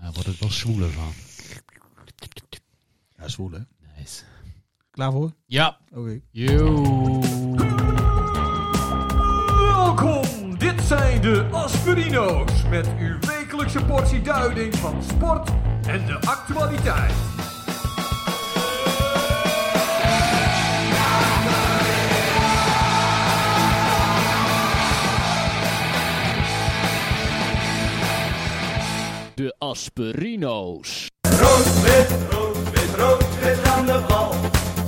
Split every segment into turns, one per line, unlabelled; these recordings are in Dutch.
Daar wordt het wel zwoeler van.
Ja, zwoel hè.
Nice.
Klaar voor?
Ja.
Oké.
Welkom, dit zijn de Aspirino's met uw wekelijkse portie duiding van sport en de actualiteit.
De Asperino's.
Rood, wit, rood, wit, rood, wit aan de bal.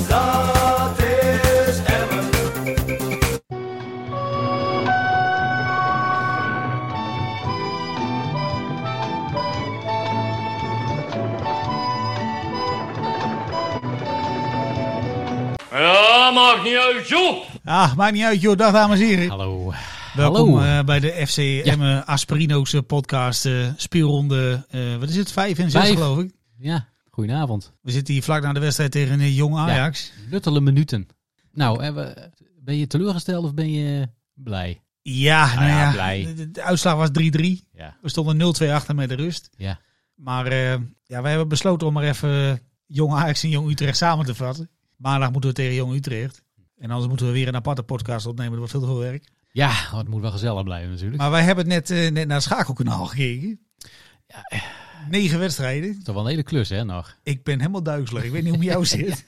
Dat is Emmen.
Ja, maakt niet uit, joh.
Ah, maakt niet uit joh. Dag dames en heren.
Hallo.
Welkom
Hallo.
eh, bij de FC Emmen Asperino's eh, podcast. eh, speelronde, eh, wat is het? Vijf en zes
Vijf.
geloof ik.
Ja, goedenavond.
We zitten hier vlak na de wedstrijd tegen een jong Ajax.
Luttele minuten. Nou, eh, we- ben je teleurgesteld of ben je blij?
Ja, nou
Ah, ja,
ja.
blij.
De, de- de uitslag was 3-3.
Ja.
We stonden 0-2 achter met de rust.
Ja.
Maar eh, ja, we hebben besloten om maar even eh, Jong Ajax en Jong Utrecht samen te vatten. Maandag moeten we tegen Jong Utrecht. En anders moeten we weer een aparte podcast opnemen. Dat wordt veel te veel werk.
Ja, want het moet wel gezellig blijven natuurlijk.
Maar wij hebben net, eh, net naar het schakelkanaal gekeken. Negen wedstrijden.
Toch wel een hele klus, hè, nog.
Ik ben helemaal duizelig. Ik weet niet hoe het met jou zit.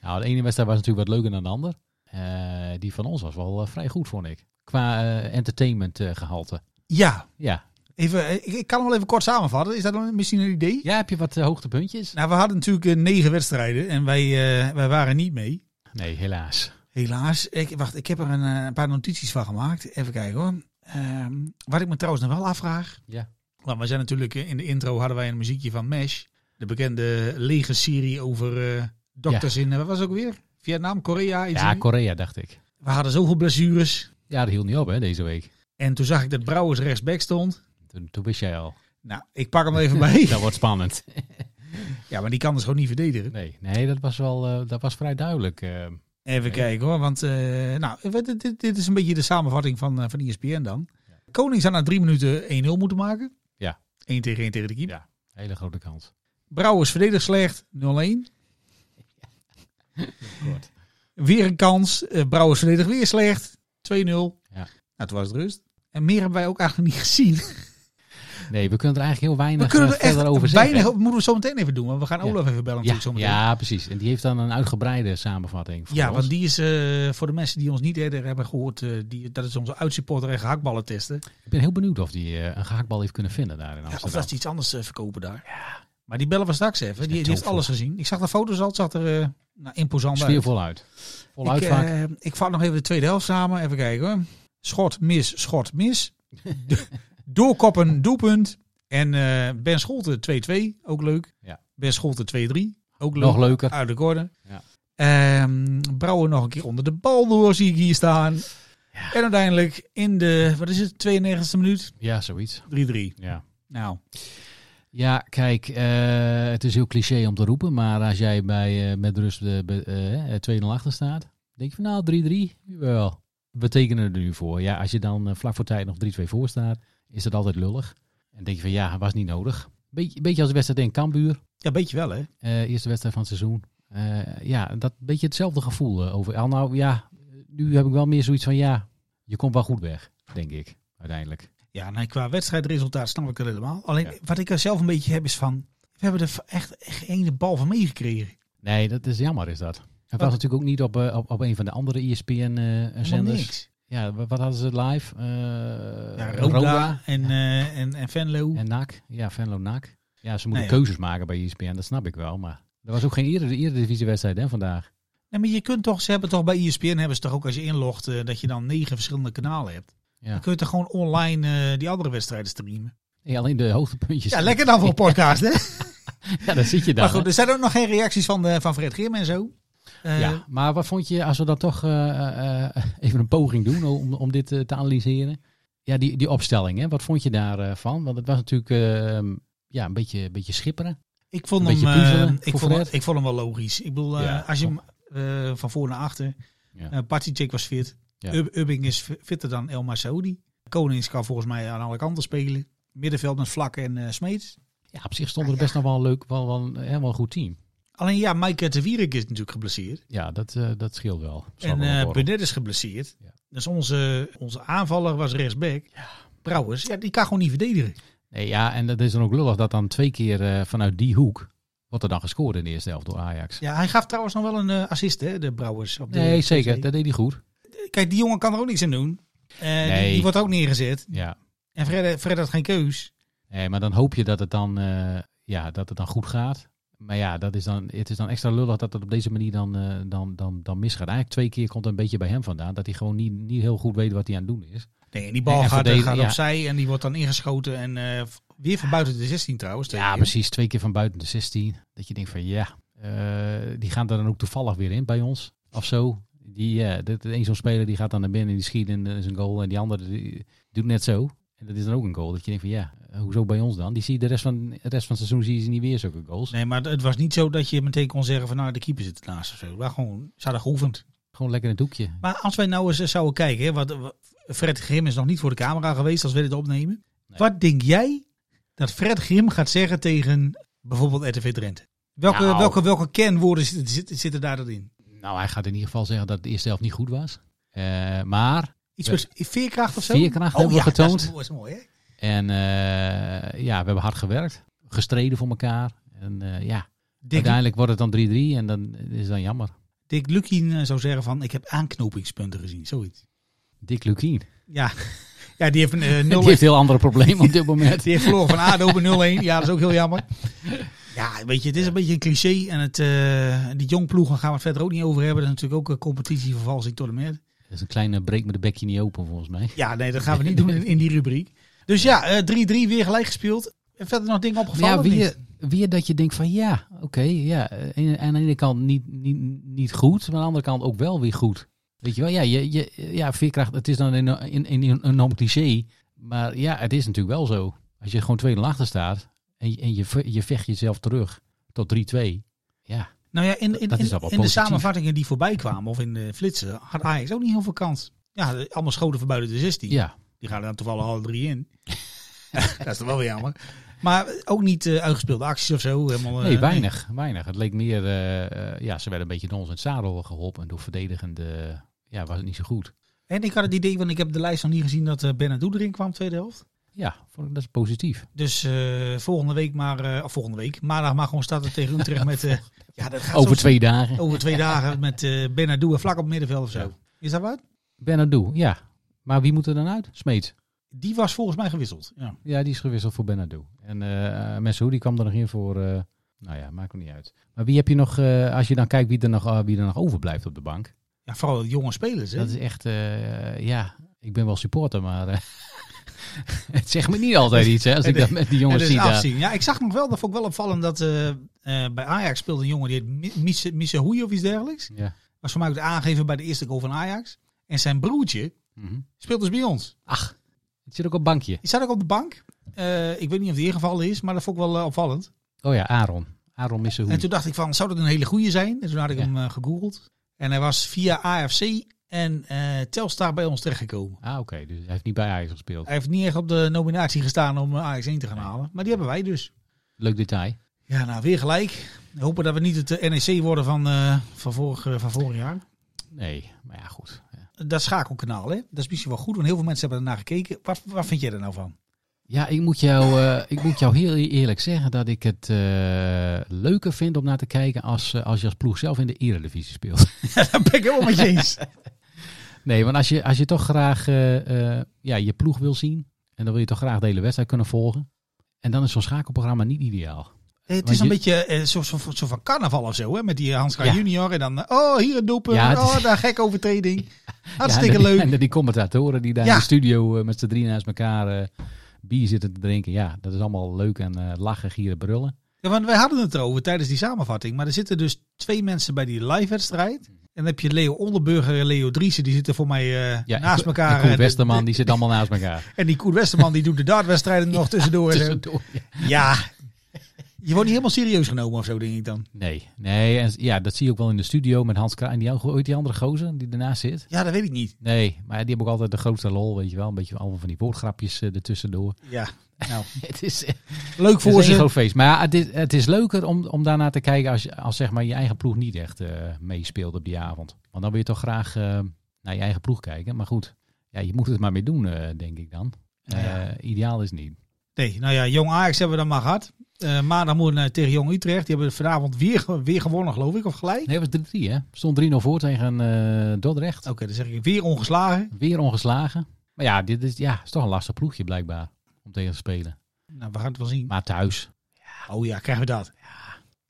Nou, de ene wedstrijd was natuurlijk wat leuker dan de ander. Eh, die van ons was wel eh, vrij goed, vond ik. Qua eh, entertainment eh, gehalte.
Ja,
Ja.
even, eh, ik, ik kan hem wel even kort samenvatten. Is dat dan misschien een idee?
ja, heb je wat eh, hoogtepuntjes?
Nou, we hadden natuurlijk eh, negen wedstrijden en wij, eh, wij waren niet mee.
Nee, helaas.
Helaas. Ik, wacht, ik heb er een, eh, een paar notities van gemaakt. Even kijken hoor. Ehm, wat ik me trouwens nog wel afvraag.
Ja.
Want we zijn natuurlijk eh, in de intro hadden wij een muziekje van Mesh. De bekende lege serie over eh dokters in, eh, wat was het ook weer? Vietnam, Korea. Iets
Ja,
in-
Korea dacht ik.
we hadden zoveel blessures.
Ja, dat hield niet op, hè, deze week.
En toen zag ik dat Brouwers rechtsback stond.
Toen, toen wist jij al.
Nou, ik pak hem er even bij.
Dat wordt spannend.
Ja, maar die kan dus gewoon niet verdedigen.
Nee, nee dat was wel eh, dat was vrij duidelijk. eh.
Even kijken hoor, want eh, nou, we- dit- dit, dit is een beetje de samenvatting van, eh, van ESPN dan. Koning zou na drie minuten 1-0 moeten maken.
Ja.
1 tegen 1 tegen de keeper.
Ja. hele grote kans.
Brouwers verdedigt slecht, 0-1. Weer een kans, eh, Brouwers verdedigt weer slecht, 2-0.
Ja.
Nou, toen was het rust. En meer hebben wij ook eigenlijk niet gezien.
Nee, we kunnen er eigenlijk heel
We
weinig
kunnen
eh,
er echt
verder over
weinig
zeggen.
op- moeten we zo meteen even doen. Want we
Ja.
gaan Olaf even bellen natuurlijk zo
ja,
meteen.
ja, precies. En die heeft dan een uitgebreide samenvatting voor
Ja,
ons.
want die is eh, voor de mensen die ons niet eerder hebben gehoord, eh, die, dat is onze uitsupporter en gehaktballen testen.
Ik ben heel benieuwd of die eh, een gehaktbal heeft kunnen vinden daar in
Ja, of
Amsterdam.
dat ze iets anders eh, verkopen daar. Maar die bellen we straks even. Die,
net
die heeft
tofu.
alles gezien. Ik zag de foto's al, het zag er eh, nou, imposant uit.
Sfeer voluit. Voluit
Ik,
vaak.
eh, ik vat nog even de tweede helft samen. Even kijken hoor. Schot, mis, schot, mis. Doorkoppen, doelpunt. En eh, Ben Scholte 2-2, ook leuk.
Ja.
Ben Scholte 2-3, ook leuk.
Nog leuker.
Uit de orde.
Ja.
Ehm, Brouwer nog een keer onder de bal door, zie ik hier staan. En uiteindelijk in de, wat is het, 92e minuut,
Ja, zoiets.
3-3.
Ja.
Nou,
Ja, kijk, eh, het is heel cliché om te roepen, maar als jij bij, eh, met rust eh, be- eh, eh, 2-0 achter staat, denk je van nou 3-3, wel. We tekenen er nu voor. Ja, als je dan eh, vlak voor tijd nog 3-2 voor staat, is dat altijd lullig. En denk je van ja, was niet nodig. Beetje, beetje als de wedstrijd in Kambuur,
ja, beetje wel hè.
eh, eerste wedstrijd van het seizoen. Eh, ja, dat beetje hetzelfde gevoel eh, over. Al nou ja, nu heb ik wel meer zoiets van ja, je komt wel goed weg, denk ik, uiteindelijk.
Ja, nee, qua wedstrijdresultaat snap ik het helemaal. Alleen
Ja.
wat ik er zelf een beetje heb is van... We hebben er echt geen bal van meegekregen.
Nee, dat is jammer is dat. Het was
Wat-
natuurlijk ook niet op, eh, op, op een van de andere ESPN-zenders.
Helemaal niks.
eh, Ja, wa- wat hadden ze live? Eh
Ja, Roda,
Roda,
en, eh, en, en Venlo.
en NAC. Ja, Venlo NAC. Ja, ze moeten
Nee, Nou ja.
keuzes maken bij E ESPN, dat snap ik wel. Maar er was ook geen eerder, eredivisiewedstrijd hè, vandaag.
Nee, maar je kunt toch... Ze hebben toch bij E ESPN hebben ze toch ook als je inlogt... eh, dat je dan negen verschillende kanalen hebt.
Ja.
Dan kun je toch gewoon online eh, die andere wedstrijden streamen.
Nee, alleen de hoogtepuntjes.
Ja, lekker dan voor een podcast hè.
Ja, daar zit je dan.
maar goed, er zijn ook nog geen reacties van, eh, van Fred Grim en zo. Eh,
hè. ja, maar wat vond je, als we dan toch eh, eh, even een poging doen om, om dit eh, te analyseren? Ja, die, die opstelling, hè? wat vond je daarvan? van? Want het was natuurlijk eh, ja, een beetje, een beetje schipperen.
Ik vond,
Een
hem,
beetje puzzelen
eh, ik,
voor
vond, hem-
Fred.
ik vond hem wel logisch. Ik bedoel, eh,
Ja,
als je hem eh, van voor naar achter...
Ja.
eh Partijcek was fit.
Ja.
Ub- Ubbing is fi- fitter dan Elma Saoudi. Konings kan volgens mij aan alle kanten spelen. Middenveld met Vlak en eh Smeets.
Ja, op zich stond er best nog wel een leuk, wel, wel, hè, wel een goed team.
Alleen ja, Mike de Wierik is natuurlijk geblesseerd.
Ja, dat, eh, dat scheelt wel. Zal
En
wel
eh
horen.
Benet is geblesseerd.
Ja.
Dus onze, onze aanvaller was rechtsback. Brouwers, ja, die kan gewoon niet verdedigen.
nee, ja, en dat is dan ook lullig dat dan twee keer eh, vanuit die hoek wordt er dan gescoord in de eerste helft door Ajax.
Ja, hij gaf trouwens nog wel een eh, assist, hè, de Brouwers. Op de
Nee, zeker.
TC.
Dat deed hij goed.
Kijk, die jongen kan er ook niks aan doen. Eh, die,
Nee.
die wordt ook neergezet.
Ja.
En Fred, Fred had geen keus.
Nee, maar dan hoop je dat het dan, eh, ja, dat het dan goed gaat. Maar ja, dat is dan, het is dan extra lullig dat het op deze manier dan, eh, dan, dan, dan misgaat. Eigenlijk twee keer komt het een beetje bij hem vandaan. Dat hij gewoon niet, niet heel goed weet wat hij aan het doen is.
Nee, en die bal
En
gaat,
verdedigen,
gaat
ja.
opzij en die wordt dan ingeschoten. En eh, weer van buiten de 16 trouwens. twee
Ja,
keer.
precies. Twee keer van buiten de 16. Dat je denkt van ja, eh, die gaan er dan ook toevallig weer in bij ons. Of zo. Die, eh dat één zo'n speler die gaat dan naar binnen en die schiet en dat is een goal. En die andere die doet net zo. En dat is dan ook een goal. Dat je denkt van ja, eh, hoezo bij ons dan? Die zie je de rest van, de rest van het seizoen zie je ze niet weer zulke goals.
Nee, maar het was niet zo dat je meteen kon zeggen van nou, de keeper zit ernaast of zo. Maar gewoon, ze hadden geoefend.
Gewoon lekker in het hoekje.
Maar als wij nou eens eh, zouden kijken, hè, wat, wat- Fred Grim is nog niet voor de camera geweest als we dit opnemen. Wat denk jij dat Fred Grim gaat zeggen tegen bijvoorbeeld RTV Drenthe? Welke,
Nou.
welke, welke kernwoorden zitten, zitten, zitten daar dan in?
Nou, hij gaat in ieder geval zeggen dat de eerste helft niet goed was. Eh, maar,
Iets met veerkracht of zo? Oh,
Veerkracht hebben we
ja,
getoond.
Dat is, dat is mooi, hè?
en eh, ja, we hebben hard gewerkt. Gestreden voor elkaar. En eh, ja,
Dick,
uiteindelijk wordt het dan 3-3 en dan is het dan jammer.
Dick Lukien eh, zou zeggen van ik heb aanknopingspunten gezien, zoiets.
Dick Lukien.
Ja, ja die heeft een eh,
Die
0
heeft heel andere problemen op dit moment.
Die heeft verloren van ADO bij 0-1. Ja, dat is ook heel jammer. Ja, weet je, het is een beetje een cliché. En het, eh die jongploegen gaan we het verder ook niet over hebben. Dat is natuurlijk ook een competitievervalsing toernooi.
Dat is een kleine break met de bekje niet open volgens mij.
Ja, nee, dat gaan we niet doen in, in die rubriek. Dus ja, eh, 3-3 weer gelijk gespeeld. En verder nog dingen opgevallen?
ja, eh,
of
weer,
niet?
weer dat je denkt van ja, oké, ja. En- Aan de ene kant niet, niet, niet goed, maar aan de andere kant ook wel weer goed. Weet je wel, ja, je, je, ja veerkracht, het is dan een, een, een, een enorm cliché. Maar ja, het is natuurlijk wel zo. Als je gewoon tweede achter staat en, je- en je, ve- je vecht jezelf terug tot 3-2. Ja,
Nou ja, in, in,
dat is
in-
dan wel
in de
positief.
samenvattingen die voorbij kwamen, of in de flitsen, had Ajax ook niet heel veel kans. Ja, de- allemaal schoten van buiten de 16.
ja.
Die gaan er dan toevallig alle drie in. dat is toch wel weer jammer. Maar ook niet eh, uitgespeelde acties of zo. Helemaal, eh,
Nee, weinig, weinig. Het leek meer, eh, eh, ja, ze werden een beetje door ons in het zadel geholpen. En door verdedigende, ja, was het niet zo goed.
En ik had het idee, want ik heb de lijst nog niet gezien dat eh Bernardo erin kwam, tweede helft.
Ja, vond ik- dat is positief.
Dus eh, volgende week maar, eh, of volgende week, maandag maar gewoon starten tegen Utrecht met, eh, ja, dat gaat
Over
soms-
twee dagen.
over twee dagen met eh Bernardo en vlak op het middenveld of zo. Is dat wat?
Benadou, ja. Maar wie moet er dan uit? Smeet.
Die was volgens mij gewisseld. Ja.
Ja, die is gewisseld voor Benadou. En eh Messi, die kwam er nog in voor, eh, nou ja, maakt ook niet uit. Maar wie heb je nog, eh, als je dan kijkt wie er nog, eh, wie er nog overblijft op de bank.
ja, vooral jonge spelers. Hè?
Dat is echt, eh, ja, ik ben wel supporter, maar eh, het zegt me niet altijd iets hè, als ik dat met die jongens
En
zie.
dat is
daar.
afzien. Ja, ik zag nog wel, dat vond ik wel opvallend, dat eh, eh, bij Ajax speelde een jongen die heet Mi- Misse- Missehoei of iets dergelijks.
Ja.
Was voor mij ook de aangever bij de eerste goal van Ajax. En zijn broertje
Mhm.
speelt dus bij ons.
Ach, het zit ook op het bankje.
Die staat ook op de bank. Eh, ik weet niet of die ingevallen is, maar dat vond ik wel eh, opvallend.
Oh ja, Aaron. Aaron Missehoek.
En toen dacht ik van, zou dat een hele goeie zijn? En toen had ik
Ja.
hem eh, gegoogeld. En hij was via AFC en eh, Telstar bij ons terechtgekomen.
Ah, oké. Dus hij heeft niet bij Ajax gespeeld.
Hij heeft niet echt op de nominatie gestaan om eh, Ajax 1 te gaan halen. Maar die hebben wij dus.
Leuk detail.
Ja, nou, weer gelijk. Hopen dat we niet het eh, NEC worden van, eh, van, vorig, eh, van vorig jaar.
Nee, maar ja, goed. Ja.
Dat schakelkanaal, hè? Dat is misschien wel goed, want heel veel mensen hebben ernaar gekeken. Wat, wat vind jij er nou van?
Ja, ik moet jou, eh, ik moet jou heel eerlijk zeggen dat ik het eh, leuker vind om naar te kijken als, eh, als je als ploeg zelf in de Eredivisie speelt.
Daar ben ik helemaal met je eens.
Nee, want als je, als je toch graag eh, eh, ja, je ploeg wil zien en dan wil je toch graag de hele wedstrijd kunnen volgen. En dan is zo'n schakelprogramma niet ideaal.
Eh, Het
Want
is een
je-
beetje eh, zo, zo, zo van carnaval of zo, hè? Met die Hans Kraaij
Ja.
junior en dan, eh, oh, hier een doelpunt,
Ja, het is-
oh, daar gek overtreding.
Ja,
Hartstikke
en dan-
leuk.
En dan die commentatoren die daar
Ja.
in de studio eh, met z'n drieën naast elkaar eh, bier zitten te drinken. Ja, dat is allemaal leuk en eh, lachen, gieren, brullen.
Ja, want wij hadden het erover tijdens die samenvatting, maar er zitten dus twee mensen bij die live-wedstrijd. En dan heb je Leo Onderburger en Leo Driessen, die zitten voor mij eh,
Ja,
naast
en Ko-
elkaar.
En Koen
En-
Westerman, die zit allemaal naast elkaar.
En die Koen Westerman, die doet de dartwedstrijden nog tussendoor. en zo.
Tussendoor, ja.
Ja, je wordt niet helemaal serieus genomen of zo, denk ik dan.
Nee, nee. En, ja, dat zie je ook wel in de studio met Hans Kraaij. En die, ooit die andere gozer die ernaast zit.
Ja, dat weet ik niet.
Nee, maar die hebben ook altijd de grootste lol, weet je wel. Een beetje allemaal van die woordgrapjes eh, ertussendoor.
Ja, Nou,
het is,
leuk
het
voor
is een
ze.
groot feest. Maar ja, het is, het is leuker om, om daarnaar te kijken als, je- als zeg maar, je eigen ploeg niet echt eh, meespeelt op die avond. Want dan wil je toch graag eh, naar je eigen ploeg kijken. Maar goed, ja, je moet het maar mee doen, eh, denk ik dan. Eh,
Ja.
Ideaal is het niet.
Nee, nou ja, Jong Ajax hebben we dan maar gehad. Eh maandag moeten we naar- tegen Jong Utrecht. Die hebben vanavond weer, ge- weer gewonnen, geloof ik, of gelijk.
Nee, het was 3-3 hè. Stond 3-0 voor tegen eh, Dordrecht.
Oké, dan zeg ik weer ongeslagen.
Weer ongeslagen. Maar ja, dit is, ja, is toch een lastig ploegje blijkbaar om tegen te spelen.
Nou, we gaan het wel zien.
Maar thuis.
Oh ja, krijgen we dat.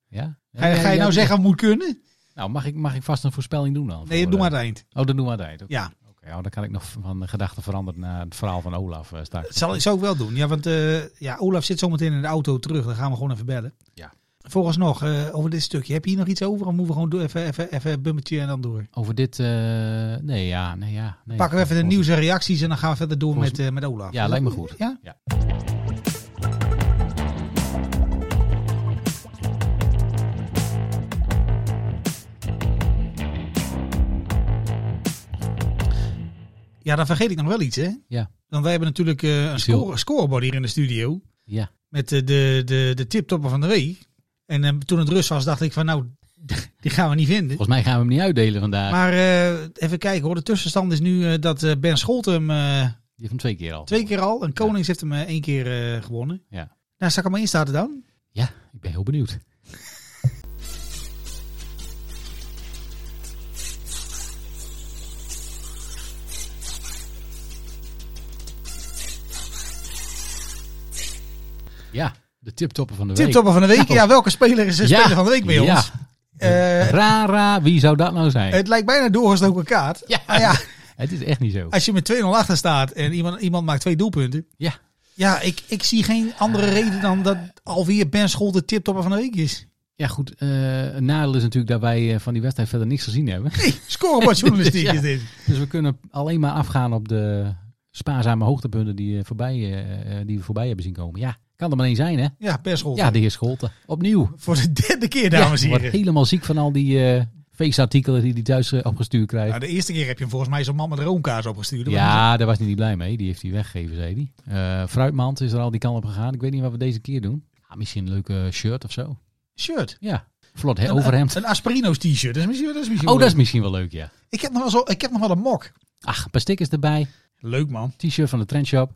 Ja? Ja,
Ga, je- ga je
ja,
nou
ja.
zeggen, het moet kunnen?
Nou, mag ik, mag ik vast een voorspelling doen dan?
Nee,
Voor,
doe maar
eh,
het eind.
Oh, dat doen we aan het eind. Oké,
Ja,
Oké, oh, dan kan ik nog van de gedachten veranderen naar het verhaal van Olaf eh,
dat
straks.
zal ik zo ook wel doen. Ja, want eh, ja, Olaf zit zometeen in de auto terug. Dan gaan we gewoon even bellen.
Ja.
Volgens nog, eh, over dit stukje. Heb je hier nog iets over? Dan moeten we gewoon door, even, even, even een bumpertje en dan door.
Over dit, eh, nee, ja, nee, ja. Nee,
Pakken we even de
Volgens-
nieuws en reacties en dan gaan we verder door
Volgens-
met, eh, met Olaf.
Ja, lijkt me goed.
Ja?
Ja.
Ja, dan vergeet ik nog wel iets, hè?
Ja.
Want wij hebben natuurlijk eh, een
Iets heel-
score, scorebord hier in de studio.
Ja,
Met eh, de, de, de tiptoppen van de week. En eh, toen het rust was, dacht ik van nou, die gaan we niet vinden.
volgens mij gaan we hem niet uitdelen vandaag.
Maar eh, even kijken hoor. De tussenstand is nu eh, dat eh, Ben Scholten hem eh,
Je hebt hem twee keer al.
twee keer al. En Konings heeft hem eh, één keer eh, gewonnen.
Ja.
Nou, zal ik hem maar instarten dan?
Ja, ik ben heel benieuwd. Ja, de tiptoppen van de week.
Tiptoppen van de week. Ja, welke speler is de
Nou. Ja.
speler van de week bij
Ja.
ons? Eh,
Rara, wie zou dat nou zijn? Het,
het lijkt bijna doorgestoken kaart.
Ja.
Maar ja,
is echt niet zo.
als je met 2-0 achter staat en iemand, iemand maakt twee doelpunten.
Ja, Ah.
Ja, ik, ik zie geen andere reden dan dat alweer Ben School de tiptopper van de week is.
ja goed. eh, een nadeel is natuurlijk dat wij eh, van die wedstrijd verder niks gezien hebben.
Nee, scorebordjournalistiek
Ja.
is dit.
Dus we kunnen alleen maar afgaan op de spaarzame hoogtepunten die, eh, voorbij, eh, eh, die we voorbij hebben zien komen. Ja, kan er maar één zijn hè?
Ja, Ben School.
Ja, de heer Scholten. Opnieuw.
Voor de derde keer,
Ja,
dames en
wordt
heren.
helemaal ziek van al die eh, feestartikelen die hij thuis eh, opgestuurd
Nou,
krijgt.
de eerste keer heb je hem volgens mij zo'n man met roomkaas opgestuurd.
Ja, daar was hij niet blij mee. Die heeft hij weggegeven, zei hij. Eh fruitmand is er al die kant op gegaan. Ik weet niet wat we deze keer doen. Ah, misschien een leuke shirt of zo.
Shirt.
Ja, vlot hè,
Een-
overhemd.
Een, Asperino's t-shirt. Dat is misschien, dat is misschien
Oh,
wel
dat is misschien wel leuk, ja.
leuk. ik, heb nog wel zo, ik heb nog wel een mok.
Ach, een paar stickers erbij.
Leuk man.
T-shirt van de trendshop.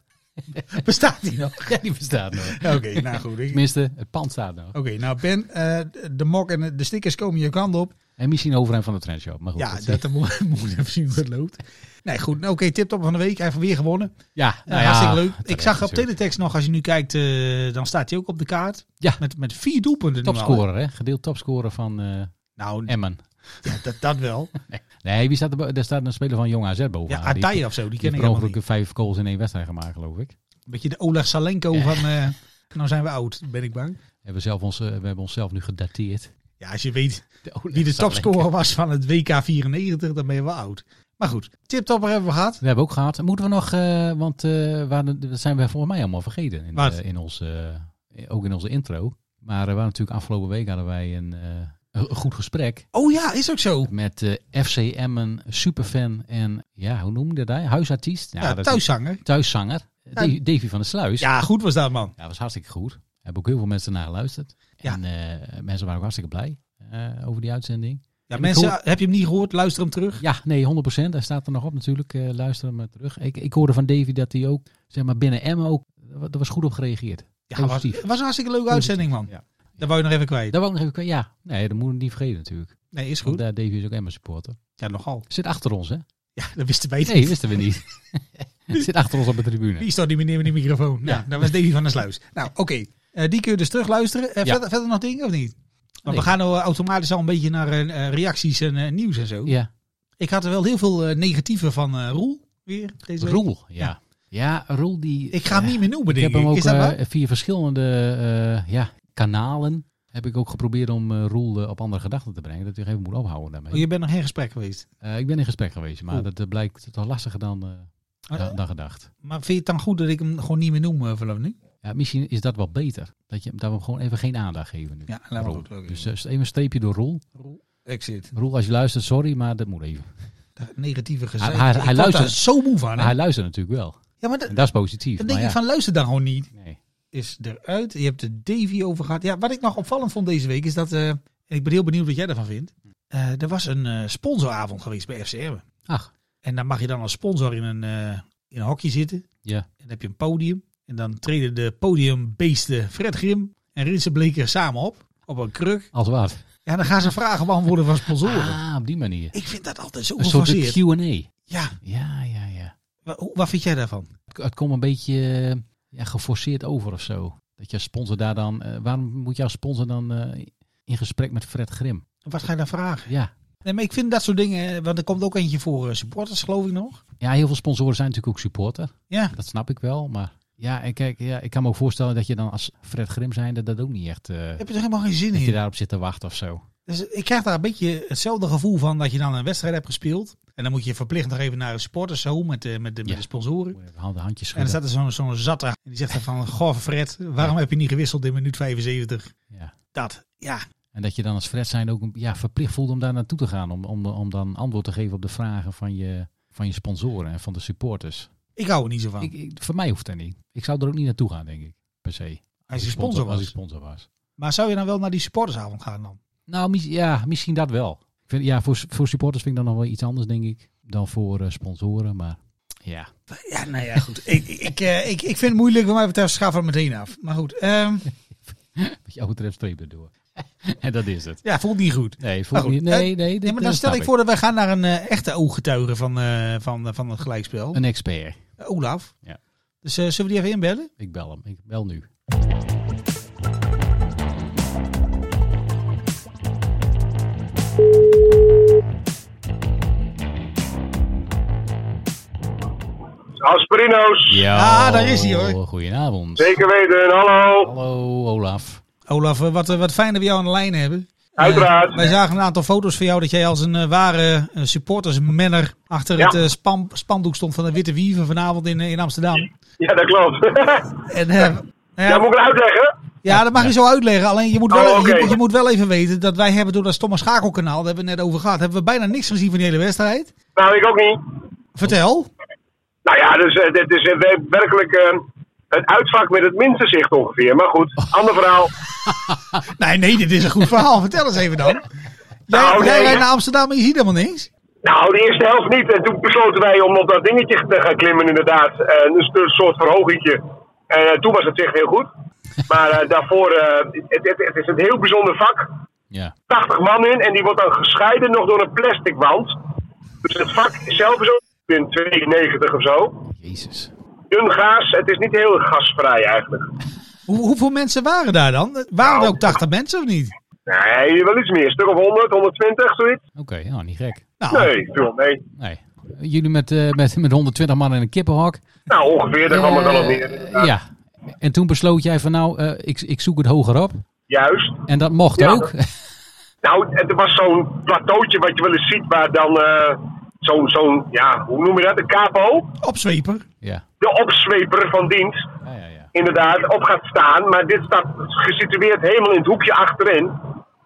Bestaat die nog?
Ja, die bestaat nog.
Ja, Oké, nou goed. Ik- Oké,
Tenminste, het pand staat nog.
nou Ben, eh, de mok en de stickers komen je kant op.
En misschien overhemd van de trendshop. Maar goed,
ja,
is-
dat moet moet ik even zien hoe het loopt. Nee, goed. Nou, Oké, tiptop van de week. Hij heeft weer gewonnen.
Nou ja,
Ja, hartstikke leuk. Ik
terecht
zag op
natuurlijk.
teletext nog, als je nu kijkt, eh, dan staat hij ook op de kaart.
Ja.
Met, met vier doelpunten nu al.
Topscorer, hè? Gedeeld topscorer van eh,
Nou,
Emmen.
ja, dat, dat wel.
Nee, wie staat er, bo- daar staat een speler van Jong AZ bovenaan.
Ja,
nou, Die-
Ataya of zo, die
Die
ken
heeft
ik
per
helemaal
ongeluk
niet.
vijf goals in één wedstrijd gemaakt, geloof ik.
Een beetje de Oleg Salenko
Ja.
van, eh, nou zijn we oud, ben ik bang.
Hebben we, zelf ons, eh, we hebben onszelf nu gedateerd.
Ja, als je weet
Wie
wie de topscorer was van het WK 94, dan ben je wel oud. Maar goed, tiptopper hebben we gehad.
We hebben ook gehad. Moeten we nog, eh, want eh, waar, dat zijn we volgens mij allemaal vergeten. In,
Wat?
eh, in ons, eh, ook in onze intro. Maar eh, we waren natuurlijk afgelopen week hadden wij een, eh, een goed gesprek
Oh ja, is ook zo.
met eh FC Emmen, superfan en ja, hoe noemde dat? hij? Huisartiest?
Ja,
dat is-
thuiszanger.
Thuiszanger. Davy- Davy van der Sluis.
Ja, goed was dat man.
Ja, dat was hartstikke goed. Hebben ook heel veel mensen naar geluisterd.
Ja.
En eh, mensen waren ook hartstikke blij eh, over die uitzending.
Ja,
ik
mensen,
hoor-
heb je hem niet gehoord? Luister hem terug.
Ja, nee, 100%. Hij staat er nog op natuurlijk. Eh, luister hem maar terug. Ik, ik hoorde van Davy dat hij ook, zeg maar binnen Emmen ook, er was goed op gereageerd.
Ja, was,
Positief.
was een hartstikke leuke uitzending man.
Ja.
Daar wou je nog even kwijt.
Daar wou ik nog even, ja, nee, dat moet ik niet vergeten natuurlijk.
Nee, is
Want
goed.
daar Davy is ook Emmen supporter.
Ja, nogal.
Zit achter ons, hè?
Ja, dat wisten wij
Nee, wisten we niet. Zit achter ons op de tribune.
Wie is dat die meneer met die microfoon? Nou, dat was Davy van der Sluis. Nou, oké. Eh, die kun je dus terugluisteren. luisteren.
Ja.
verder, verder nog dingen of niet? Want
Nee.
we gaan nou eh, automatisch al een beetje naar eh, eh, reacties en eh, nieuws en zo.
Ja,
Ik had er wel heel veel eh, negatieve van eh, Roel weer deze week.
Roel, ja. Ja, Roel die...
Ik ga hem
ja.
niet meer
Ik
noemen, denk
heb
ik.
hem ook
is dat waar?
eh, via verschillende eh, ja, kanalen heb ik ook geprobeerd om eh, Roel eh, op andere gedachten te brengen. Dat hij even moet ophouden daarmee.
Oh, je bent nog in gesprek geweest.
Eh, ik ben in gesprek geweest, maar
Oeh.
dat eh, blijkt toch lastiger dan, eh,
Ah,
da- dan gedacht.
Maar vind je het dan goed dat ik hem gewoon niet meer noem eh, vanaf nu?
Ja, misschien is dat wel beter. Dat, je, dat we hem gewoon even geen aandacht geven nu.
Ja, laat maar
Roel.
goed, oké.
Dus eh, even een streepje door Roel.
Exit.
Roel, als je luistert, sorry, maar dat moet even.
Ah, Negatieve gezegd.
Hij- hij-
Ik
hij
word
luistert-
daar zo moe van.
Maar
hè?
hij luistert natuurlijk wel.
Ja, maar dat-
En dat is positief.
dan
maar
denk ik
ja,
van luister dan gewoon niet.
nee.
is eruit. Je hebt de Davy over gehad. Ja, wat ik nog opvallend vond deze week is dat... eh, en ik ben heel benieuwd wat jij daarvan vindt. Eh, er was een eh, sponsoravond geweest bij FC Emmen.
Ach,
En dan mag je dan als sponsor in een, eh, in een hokje zitten.
ja.
En dan heb je een podium. En dan treden de podiumbeesten Fred Grim en Rinse Bleker samen op. Op een kruk.
Als wat?
Ja, dan gaan ze vragen beantwoorden van sponsoren.
Ah, op die manier.
Ik vind dat altijd zo
Een soort
geforceerd.
Q&A.
Ja,
Ja, ja, ja.
wa- hoe- wat vind jij daarvan?
Het- Het komt een beetje eh, ja, geforceerd over of zo. Dat je als sponsor daar dan... eh, waarom moet je als sponsor dan eh, in gesprek met Fred Grim?
Wat ga je dan vragen?
Ja.
Nee, maar ik vind dat soort dingen... eh, Want er komt ook eentje voor eh, supporters, geloof ik nog.
ja, heel veel sponsoren zijn natuurlijk ook supporter.
Ja,
Dat snap ik wel, maar... Ja, en kijk, ja, ik kan me ook voorstellen dat je dan als Fred Grim zijnde dat ook niet echt... eh,
heb je er helemaal geen zin
dat je
in.
daarop zit te wachten of zo.
Dus ik krijg daar een beetje hetzelfde gevoel van dat je dan een wedstrijd hebt gespeeld. En dan moet je verplicht nog even naar een supporters zo met, eh, met, de, met
Ja.
de sponsoren.
Moet even handen- handjes
En dan
schudden.
staat er zo'n zo'n zatte. En die zegt dan van, goh Fred, waarom heb je niet gewisseld in minuut 75?
Ja.
Dat, ja.
En dat je dan als Fred zijn ook ja, verplicht voelt om daar naartoe te gaan. Om, om, om dan antwoord te geven op de vragen van je, van je sponsoren en van de supporters.
Ik hou er niet zo van.
Ik, ik- voor mij hoeft dat niet. Ik zou er ook niet naartoe gaan, denk ik. Per se. Als,
als je
ik
sponsor was.
Als ik sponsor was.
Maar zou je dan wel naar die supportersavond gaan dan?
Nou, mis- ja, misschien dat wel. Ik vind, ja, voor, voor supporters vind ik dan nog wel iets anders, denk ik. Dan voor eh, sponsoren. Maar ja,
Ja, nou ja, goed. ik, ik, eh, ik, ik vind het moeilijk, wat mij betreft schaaf er meteen af. Maar goed, ehm,
wat jou betreft streep erdoor. en dat is het.
ja, voelt niet goed.
Nee, voor
Maar goed,
niet,
eh,
nee, nee, dit,
Nee, maar dan
eh,
stel
snap
ik voor dat we gaan naar een eh, echte ooggetuige van, eh, van, van het gelijkspel.
Een expert.
Eh, Olaf.
Ja.
Dus eh, zullen we die even inbellen?
Ik bel hem. Ik bel nu.
Asperino's,
Ja,
Ah, daar is hij, hoor.
Goedenavond.
zeker weten, hallo.
Hallo Olaf.
Olaf, eh, wat, eh, wat fijn dat we jou aan de lijn hebben. Eh,
Uiteraard.
wij zagen een aantal foto's van jou dat jij als een eh, ware eh, supportersmanner achter
Ja.
het eh, span- spandoek stond van de Witte Wieven vanavond in, eh, in Amsterdam.
Ja, dat klopt.
En, eh, nou ja,
ja, moet ik het uitleggen?
Ja, dat mag je zo uitleggen. Alleen je moet, wel,
Oh, oké.
je, moet- je moet wel even weten dat wij hebben door dat stomme schakelkanaal, daar hebben we het net over gehad, hebben we bijna niks gezien van die hele wedstrijd.
Nou, ik ook niet.
Vertel.
Nou ja, dus eh, dit is eh, wer- werkelijk eh, het uitvak met het minste zicht ongeveer. Maar goed, ander verhaal.
Nee, nee, dit is een goed verhaal. Vertel eens even dan. Jij,
Nou, nee.
jij rijdt naar Amsterdam en je ziet helemaal niks.
Nou, de eerste helft niet. En toen besloten wij om op dat dingetje te gaan klimmen, inderdaad. En dus een soort verhogingje. En eh, toen was het echt heel goed. Maar eh, daarvoor, eh, het, het, het is een heel bijzonder vak.
Ja.
80 man in en die wordt dan gescheiden nog door een plastic wand. Dus het vak zelf is ook in 92 of zo.
Jezus.
dun gaas. Het is niet heel gasvrij eigenlijk.
Hoe, hoeveel mensen waren daar dan? Waren er
Nou.
ook 80 mensen of niet?
Nee, wel iets meer. Een stuk of 100, 120, zoiets.
Oké, nou niet gek.
Nou,
Nee, veel mee.
Nee. Jullie met, eh, met, met 120 man in een kippenhok.
Nou, ongeveer, daar kwam het dan op
Eh,
neer.
ja. En toen besloot jij van nou, eh, ik, ik zoek het hoger op.
Juist.
En dat mocht
Ja.
ook.
Nou, het was zo'n plateautje wat je wel eens ziet, waar dan eh, zo'n, zo'n, ja, hoe noem je dat? Een capo,
opzweper.
ja.
de opzweper van dienst,
Ja, ja, ja.
inderdaad, op gaat staan. Maar dit staat gesitueerd helemaal in het hoekje achterin.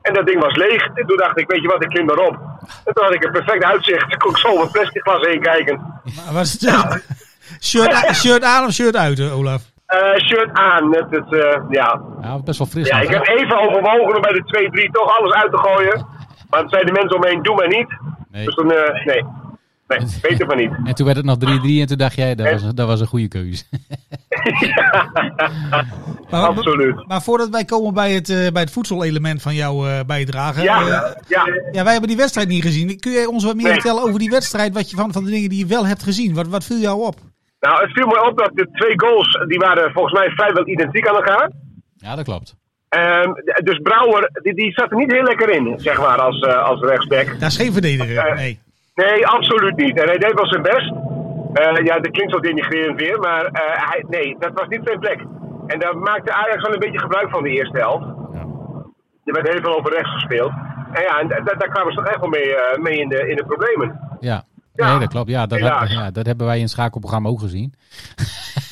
En dat ding was leeg. En toen dacht ik, weet je wat, ik klim erop. En toen had ik een perfect uitzicht. Ik kon ik zo over een plastic glas heen kijken.
Maar was het shirt, a- shirt aan of shirt uit, hè, Olaf?
Eh, shirt aan. Het, het, eh, ja.
Ja, best wel fris.
ja,
nog,
ik
hè?
heb even overwogen om bij de 2-3 toch alles uit te gooien. Maar toen zeiden de mensen omheen, doe maar niet.
Nee.
Dus dan, eh, nee. Nee, beter maar niet.
En toen werd het nog 3-3 en toen dacht jij, dat was, een- dat was een goede keuze.
Maar,
Absoluut.
maar voordat wij komen bij het, eh, bij het voedselelement van jouw eh, bijdrage.
Ja,
eh,
ja.
Ja, wij hebben die wedstrijd niet gezien. Kun jij ons wat meer
Nee.
vertellen over die wedstrijd? Wat je van, van de dingen die je wel hebt gezien? Wat, wat viel jou op?
Nou, het viel me op dat de twee goals, die waren volgens mij vrijwel identiek aan elkaar.
Ja, dat klopt.
Ehm, d- dus Brouwer, die, die zat er niet heel lekker in, zeg maar, als, eh, als rechtsback.
Daar is geen
Eh.
verdediger. Nee.
Nee, absoluut niet. En hij deed wel zijn best. Eh, ja, dat klinkt wel denigrerend weer, maar eh, hij, nee, dat was niet zijn plek. En daar maakte Ajax wel een beetje gebruik van de eerste helft. Er werd heel veel over rechts gespeeld. En ja, en da- da- daar kwamen ze toch echt wel mee, eh, mee in, de, in de problemen.
Ja.
Ja.
Nee, dat klopt. Ja, dat,
Helaas.
ja, dat hebben wij in het schakelprogramma ook gezien.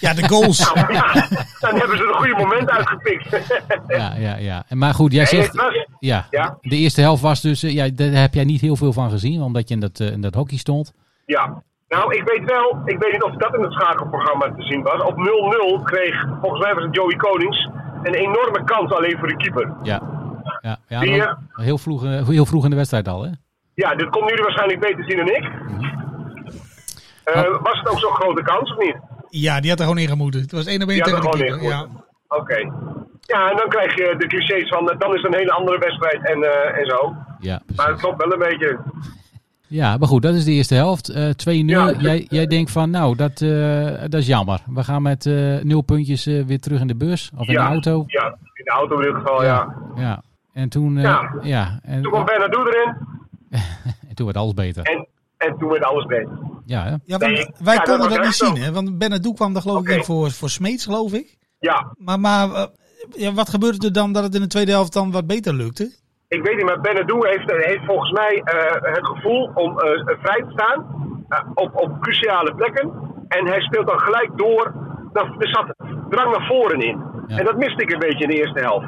Ja, de goals.
Nou ja, dan hebben ze een goede moment uitgepikt.
Ja, ja, ja. En Maar goed, jij
Nee,
zegt...
het was-
Ja,
Ja.
de eerste helft was dus... eh, Ja, daar heb jij niet heel veel van gezien, omdat je in dat, eh, in dat hockey stond.
ja. Nou, ik weet wel, ik weet niet of dat in het schakelprogramma te zien was. Op 0-0 kreeg, volgens mij was het Joey Konings, een enorme kans alleen voor de keeper.
Ja. Ja, ja
Zie je?
dan- heel, vroeg, eh, heel vroeg in de wedstrijd al, hè?
Ja, dit komt jullie waarschijnlijk beter zien dan ik.
Mhm.
Eh, was het ook zo'n grote kans of niet?
Ja, die had er gewoon in gemoeten. Het was één op één
Die had
tegen
er
de
gewoon
keeper.
in
Ja.
gemoeten. Oké. Ja, en dan krijg je de clichés van, eh, dan is het een hele andere wedstrijd en, eh, en zo.
Ja,
Maar het
precies.
klopt wel een beetje.
Ja, maar goed, dat is de eerste helft. Eh 2-0.
Ja.
jij, jij denkt van, nou, dat, eh, dat is jammer. We gaan met eh, nul puntjes eh, weer terug in de bus of in
ja,
de auto.
Ja, in de auto in ieder geval, ja.
Ja. En toen, eh, ja.
Ja.
En,
Toen kwam Bernardo erin
en toen werd alles beter.
en, en toen werd alles beter.
Ja, hè?
Ja, want
Nee,
wij
ja, dat
konden
was
dat niet
echt zo.
zien, hè? Want Benadou kwam daar geloof
Oké.
ik in voor, voor Smeets, geloof ik.
Ja,
Maar, maar eh, ja, wat gebeurde er dan dat het in de tweede helft dan wat beter lukte?
ik weet niet, maar Benadou heeft, heeft volgens mij eh, het gevoel om eh, vrij te staan eh, op, op cruciale plekken. En hij speelt dan gelijk door. Nou, er zat drang naar voren in.
Ja.
En dat miste ik een beetje in de eerste helft.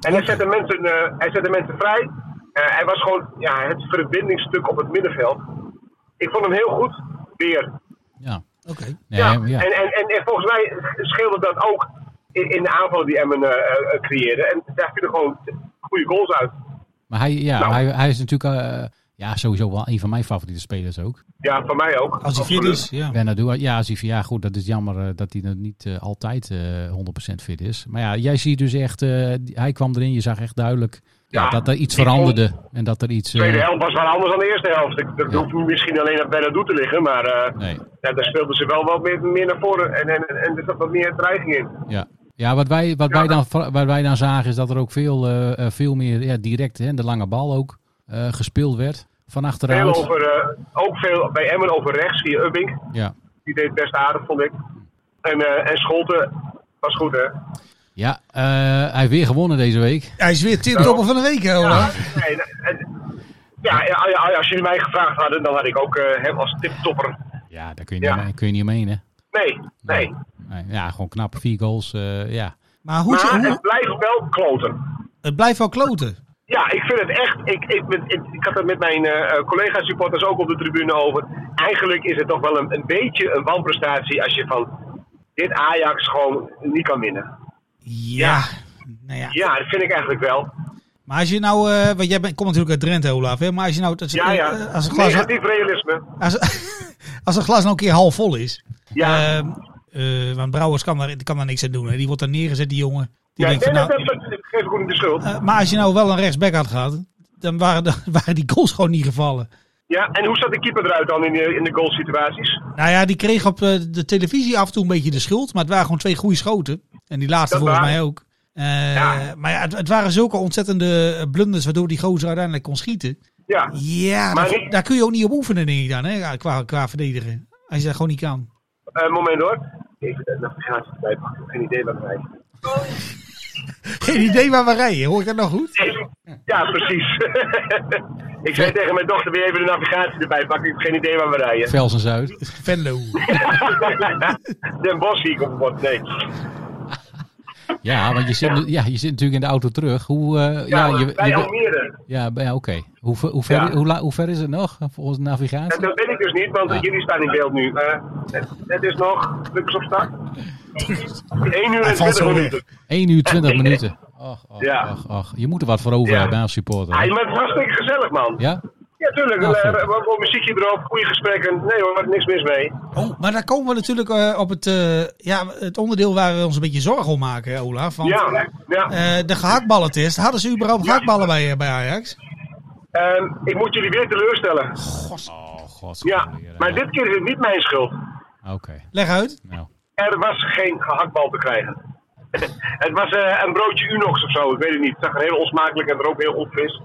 En hij zette mensen, eh, hij zette mensen vrij. Eh, hij was gewoon ja, het verbindingsstuk op het middenveld. Ik vond hem heel goed weer.
Ja.
Oké.
Nee,
ja.
ja.
En, en, en, en volgens mij scheelde dat ook in, in de aanvallen die Emmen eh, eh, creëerde. En daar vielen gewoon goede goals uit.
Maar hij, ja,
Nou.
hij, hij is natuurlijk eh, ja, sowieso wel een van mijn favoriete spelers ook.
Ja, van mij ook.
Als hij fit
Absoluut.
is, ja.
Bernardo, ja, als hij van, ja, goed, dat is jammer eh, dat hij nog niet eh, altijd eh 100% fit is. Maar ja, jij ziet dus echt, eh, die- hij kwam erin, je zag echt duidelijk ja,
Ja,
dat er iets
ik
veranderde. En dat er iets...
De
eh,
tweede helft was wel anders dan de eerste helft. Ik- Dat
Ja.
hoeft misschien alleen naar Bernardo te liggen, maar eh,
nee,
ja, daar speelden ze wel wat meer, meer naar voren en, en, en er zat wat meer dreiging in.
ja. Ja, wat wij, wat,
Ja.
wij dan, va- wat wij dan zagen is dat er ook veel, eh, eh, veel meer ja, direct, hè, de lange bal ook, eh, gespeeld werd. Van
Veel
achteruit.
over, eh, ook veel bij Emmen over rechts via Ubbing.
Ja.
Die deed best aardig, vond ik. En, eh, en Scholten was goed, hè?
Ja, eh, hij heeft weer gewonnen deze week.
Hij is weer topper van de week, hè,
Ja,
Olaf?
nee, en- ja, ja, ja, als jullie mij gevraagd hadden, dan had ik ook eh, hem als tiptopper.
Ja, daar kun je,
Ja.
Niet, omheen- kun je niet omheen, hè?
Nee, nee.
Nee, Ja, gewoon knap. Vier goals, eh, ja.
Maar hoe,
Maar
hoe-
het blijft wel kloten.
het blijft wel kloten.
Ja, ik vind het echt. Ik, ik, ben- ik, ik had het met mijn eh, collega-supporters ook op de tribune over. Eigenlijk is het toch wel een, een beetje een wanprestatie als je van dit Ajax gewoon niet kan winnen.
Ja. Nou ja.
Ja, dat vind ik eigenlijk wel.
Maar als je nou, eh, want jij bent, komt natuurlijk uit Drenthe, Olaf, hè? Maar als je nou, dat,
Ja, ja.
eh, als, een glas,
Negatief realisme.
als, als een glas nou een keer half vol is,
Ja.
Ehm, eh, want Brouwers kan daar, kan daar niks aan doen. Hè. Die wordt daar neergezet, die jongen. Die
Ja, nee,
denkt van,
dat,
nou,
dat- dat geef ik goed in de schuld.
eh, maar als je nou wel een rechtsback had gehad, dan waren, de- waren die goals gewoon niet gevallen.
Ja, en hoe staat de keeper eruit dan in de, in de goalsituaties?
Nou ja, die kreeg op eh, de televisie af en toe een beetje de schuld. Maar het waren gewoon twee goede schoten. En die laatste
Dat
volgens
waren-
mij ook. Eh,
Ja.
Maar ja, het, het waren zulke ontzettende eh, blunders waardoor die gozer uiteindelijk kon schieten.
Ja.
Ja,
Maar
daar,
niet-
daar kun je ook niet op oefenen, denk ik dan, hè, qua, qua verdedigen. Als je dat gewoon niet kan.
Eh, moment hoor. Even eh, de navigatie erbij pakken. Ik heb Geen idee wat wij.
Geen idee waar we rijden, hoor ik dat nog goed?
Ja, precies. ik zei tegen mijn dochter weer even de navigatie erbij pakken. Ik heb geen idee waar we rijden.
Velsen Zuid.
Venlo.
Den Bosch zie ik op het bord, nee.
Ja, want je zit, nu- ja, je zit natuurlijk in de auto terug. Hoe, eh, ja, je, je-
bij Almere.
ja, bij- ja, oké. Hoe, ver- hoe, ver,
Ja.
hoe, la- hoe ver is het nog volgens de
En
navigatie?
dat weet ik dus niet, want
Ja.
jullie staan in beeld nu. Eh, het, het is nog, druk eens op start. 1 uur en
Hij valt
20
zo
minuten.
1 uur 20
Ja.
minuten. Och, och,
Ja.
och, och. Je moet er wat voor over
Ja.
hebben als supporter.
Hij
hè?
maar het is hartstikke gezellig, man.
Ja?
Ja, tuurlijk.
Nou,
Eh,
goed.
wat- wat muziekje erop, goede gesprekken. Nee hoor, er is niks mis mee.
Oh, maar daar komen we natuurlijk eh, op het, eh, ja, het onderdeel waar we ons een beetje zorgen om maken, hè, Olaf. Want
Ja, ja.
eh, de gehaktballentest, hadden ze überhaupt gehaktballen bij, eh, bij Ajax?
Ehm, ik moet jullie weer teleurstellen.
Oh, god.
Ja, maar dit keer is het niet mijn schuld.
Ah, Oké,
Leg uit.
nou.
Er was geen gehaktbal te krijgen. het was eh, een broodje Unox of zo, ik weet het niet. Het zag er heel onsmakelijk en er ook heel onfris.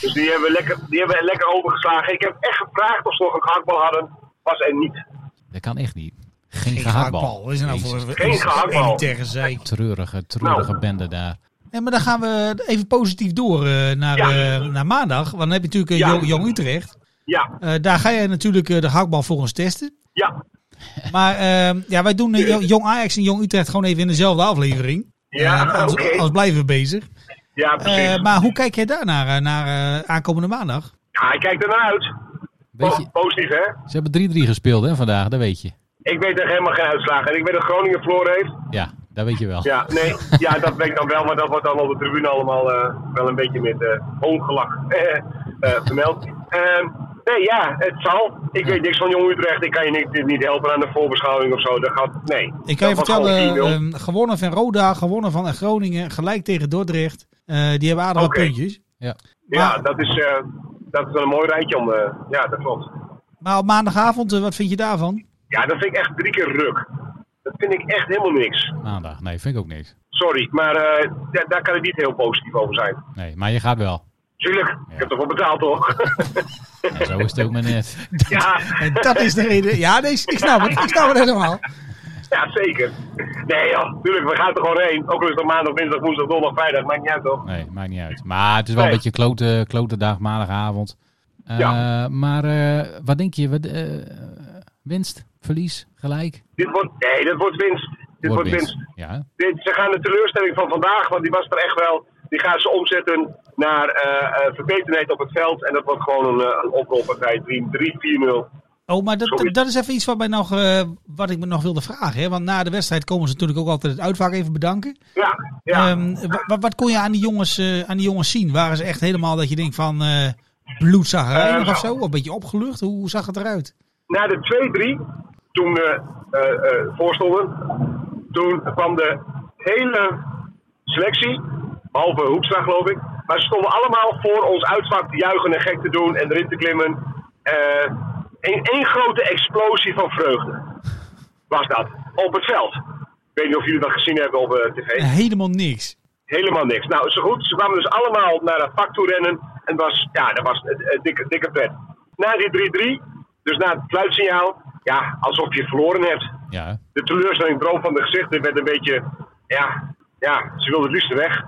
Dus die hebben, we lekker, die hebben we lekker overgeslagen. Ik heb echt gevraagd of ze nog een gehaktbal hadden. Was er niet.
Dat kan echt niet. Geen,
Geen
gehaktbal.
gehaktbal. Is er nou voor
Jezus,
Geen gehaktbal.
tegen zij.
Treurige, treurige
Nou.
bende daar.
Nee, maar dan gaan we even positief door eh, naar,
Ja.
eh, naar maandag. Want dan heb je natuurlijk eh,
Ja.
Jong, Jong Utrecht.
Ja,
Eh, daar ga je natuurlijk eh, de gehaktbal volgens testen.
ja,
Maar eh, ja, wij doen eh, Jong- Jong Ajax en Jong Utrecht gewoon even in dezelfde aflevering.
Ja,
Eh, anders,
oké.
anders blijven we bezig.
ja,
Eh,
precies.
maar hoe kijk jij daarnaar eh, naar eh, aankomende maandag?
Ja, ik kijk ernaar uit.
Weet je,
Po- Positief, hè?
ze hebben 3-3 gespeeld hè, vandaag, dat weet je.
Ik weet echt helemaal geen uitslagen. En ik weet dat Groningen verloren heeft.
Ja, dat weet je wel.
Ja, nee, ja, dat weet ik dan wel, maar dat wordt dan op de tribune allemaal eh, wel een beetje met eh ongelak eh, eh, vermeld. Ehm, nee, ja, het zal. Ik weet niks van Jong Utrecht. Ik kan je niet, niet helpen aan de voorbeschouwing of zo. Dat gaat, nee.
Ik kan je
Dat was gewoon
vertellen,
4-0.
ehm, gewonnen van Roda, gewonnen van eh, Groningen, gelijk tegen Dordrecht. Eh, die hebben aardig wat
Oké.
puntjes.
Ja.
ja,
maar-
dat is, eh, dat is wel een mooi rijtje om, eh, ja, dat klopt.
Maar op maandagavond, eh, wat vind je daarvan?
Ja, dat vind ik echt drie keer ruk. Dat vind ik echt helemaal niks.
Maandag. Nee, vind ik ook niks.
Sorry, maar eh, da- daar kan ik niet heel positief over zijn.
Nee, maar je gaat wel.
Tuurlijk, ik heb ervoor betaald, toch?
Ja, zo is het ook maar net.
ja,
En dat is de reden. Ja, nee, ik snap het. Ik snap het helemaal.
Ja, zeker. Nee, joh, tuurlijk, we gaan er gewoon heen. Ook al is het op maandag, dinsdag, woensdag, donderdag, vrijdag, maakt niet uit toch?
Nee, maakt niet uit. Maar het is wel
Nee.
een beetje klote, klote dag, maandagavond. Eh,
Ja.
Maar eh, wat denk je? Wat, eh, winst? Verlies? Gelijk?
Dit wordt, nee, dit wordt winst. Dit wordt winst.
Ja,
Dit, ze gaan de teleurstelling van vandaag, want die was er echt wel. Die gaan ze omzetten naar eh eh verbetenheid op het veld. En dat wordt gewoon een, eh, een oprolpartij. 3-4-0.
Oh, maar dat,
Sorry.
dat is even iets wat, mij nog, eh, wat ik me nog wilde vragen. Hè? Want na de wedstrijd komen ze natuurlijk ook altijd het uitvak even bedanken.
Ja, ja.
Ehm, wa- wa- wat kon je aan die, jongens, eh, aan die jongens zien? Waren ze echt helemaal dat je denkt van eh bloedzagrijnig
Eh,
of zo? Of een beetje opgelucht? Hoe, hoe zag het eruit?
Na de 2-3, toen we eh, eh, voorstonden, toen kwam de hele selectie, behalve Hoekstra geloof ik, maar ze stonden allemaal voor ons uitvak te juichen en gek te doen en erin te klimmen. Eh, Eén één grote explosie van vreugde was dat, op het veld. Ik weet niet of jullie dat gezien hebben op eh, tv.
Helemaal niks.
Helemaal niks. Nou, zo goed. Ze kwamen dus allemaal naar dat vak toe rennen. En was, ja, dat was eh, eh, dikke, dikke pret. Na die 3-3, dus na het fluitsignaal, ja, alsof je verloren hebt.
ja.
De teleurstelling droom van de gezichten werd een beetje, ja, ja, ze wilden het liefst weg.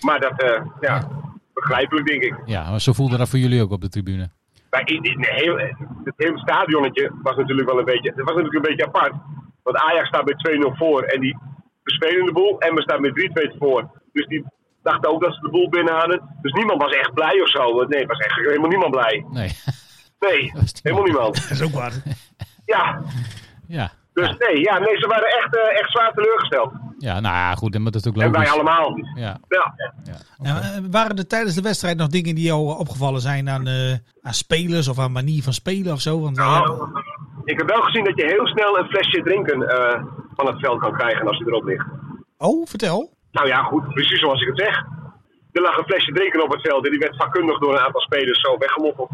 Maar dat, eh, ja, begrijpelijk denk ik.
ja maar zo voelde dat voor jullie ook op de tribune.
Maar in, in heel, het hele stadionnetje was natuurlijk wel een beetje, het was natuurlijk een beetje apart. Want Ajax staat met 2-0 voor en die bespelen de boel. En we staan met 3-2 voor. Dus die dachten ook dat ze de boel binnen hadden. Dus niemand was echt blij of zo. Nee, was echt helemaal niemand blij.
Nee.
Nee,
was
helemaal niemand.
Dat is ook waar.
Ja,
ja.
dus nee, ja, nee ze waren echt, eh, echt zwaar teleurgesteld.
ja, nou ja, goed. En dat is ook
En wij
logisch.
allemaal.
Ja,
Ja.
ja.
Nou, eh, waren er tijdens de wedstrijd nog dingen die jou opgevallen zijn aan, eh, aan spelers of aan manier van spelen of zo? Want wij hebben-
Nou, ik heb wel gezien dat je heel snel een flesje drinken eh, van het veld kan krijgen als je erop ligt.
Oh, vertel.
Nou ja, goed, precies zoals ik het zeg. Er lag een flesje drinken op het veld en die werd vakkundig door een aantal spelers zo weggemoffeld.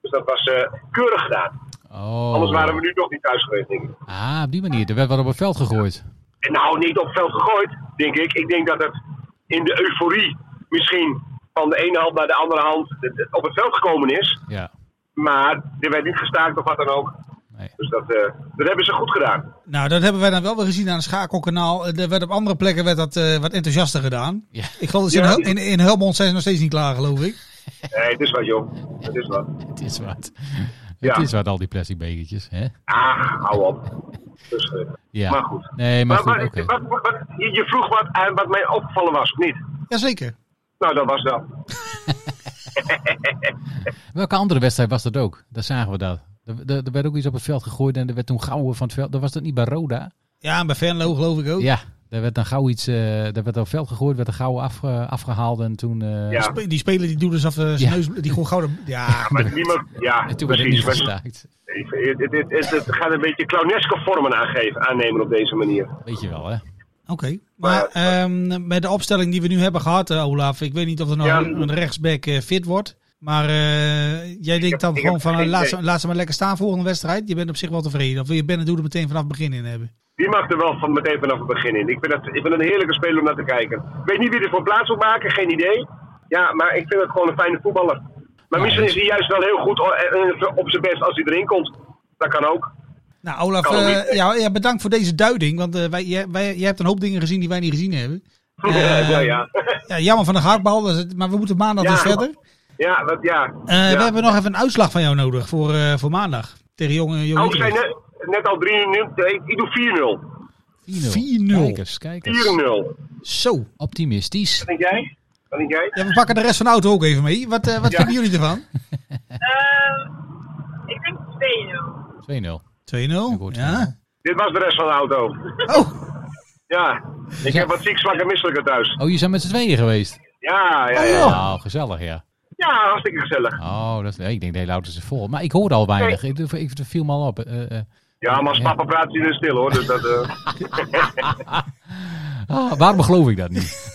Dus dat was eh, keurig gedaan.
Oh.
Anders waren we nu toch niet thuis geweest, denk ik.
Ah, op die manier. Er werd wat op het veld gegooid.
En nou, niet op het veld gegooid, denk ik. Ik denk dat het in de euforie misschien van de ene hand naar de andere hand eh, op het veld gekomen is.
Ja.
Maar er werd niet gestaakt of wat dan ook.
Nee.
Dus dat, eh, dat hebben ze goed gedaan.
Nou, dat hebben wij dan wel weer gezien aan het schakelkanaal. Eh, Er werd op andere plekken werd dat eh, wat enthousiaster gedaan.
Ja.
Ik geloof dat ze in
Ja.
Hel- in, in Helmond zijn ze nog steeds niet klaar, geloof ik.
Nee, het is wat, joh. Het is wat.
Het is wat.
Ja.
Het is wat, al die plastic bekertjes. Hè?
Ah, hou op. Dus, eh,
Ja.
Maar goed.
Nee, maar,
maar,
goed.
maar,
Oké.
wat- wat- wat- je je vroeg wat, aan wat mij opgevallen was, of niet?
Jazeker.
Nou, dat was dat.
Welke andere wedstrijd was dat ook? Daar zagen we dat. Er, er- er werd ook iets op het veld gegooid en er werd toen gauw van het veld. Dat was dat niet bij Roda?
Ja, en bij Venlo geloof ik ook.
Ja, daar werd dan gauw iets. eh daar werd op het veld gegooid, werd er gauw afge- afgehaald en toen. eh,
Ja.
Spe- Die speler die doet dus af eh, zijn
Ja.
neus, die gewoon gouden. Ja,
Maar niemand, ja,
En toen werd het
precies.
niet
Maar
gestaakt.
het, het, het, het, het gaat een beetje clowneske vormen aangeven, aannemen op deze manier.
Weet je wel, hè?
oké. Maar ehm, met de opstelling die we nu hebben gehad, eh, Olaf, ik weet niet of er nog
Ja.
een, een rechtsback eh, fit wordt. Maar eh, jij denkt dan
ik
gewoon
heb
van, eh,
geen
laat,
idee.
ze, laat ze maar lekker staan volgende wedstrijd. Je bent op zich wel tevreden. Of wil je Bennedoe er meteen vanaf het begin in hebben?
Die mag er wel van meteen vanaf het begin in. Ik vind, dat, ik vind het een heerlijke speler om naar te kijken. Ik weet niet wie er voor plaats moet maken, geen idee. Ja, maar ik vind het gewoon een fijne voetballer. Maar misschien is hij juist wel heel goed o- eh, op zijn best als hij erin komt. Dat kan ook.
Nou, Olaf,
Kan ook
eh,
Oh, niet.
ja, ja, bedankt voor deze duiding. Want eh, wij, jij, wij, jij hebt een hoop dingen gezien die wij niet gezien hebben. Eh,
ja, ja.
Ja, jammer van de gehaktbal, dat is het- maar we moeten maandag
Ja.
dus verder.
ja, wat, ja.
Eh,
ja.
We hebben nog even een uitslag van jou nodig voor, eh, voor maandag. Tegen jonge
Oh,
jongen.
ik zei net, net al 3-0. Nee, Ik doe 4-0.
4-0.
Kijkers, kijkers.
4-0.
Zo.
Optimistisch.
Denk jij? Wat denk jij?
Ja, we pakken de rest van de auto ook even mee. Wat, eh, wat vinden jullie ervan?
Ehm,
2-0.
2-0.
hoort
Ja.
Dit was de rest van de auto.
Oh,
Ja, ik
Ja.
heb wat ziek, zwak en misselijker thuis.
Oh, je zijn met z'n tweeën geweest.
Ja, ja,
Oh,
ja.
joh.
Nou, gezellig, ja.
ja hartstikke gezellig.
Oh, dat, nee, ik denk de hele auto is vol. Maar ik hoorde al weinig. Ik, ik, het viel me al op. Eh, eh.
Ja, maar als
Ja.
papa praat, is hij weer stil hoor. Dus dat, eh
Ah, waarom geloof ik dat niet?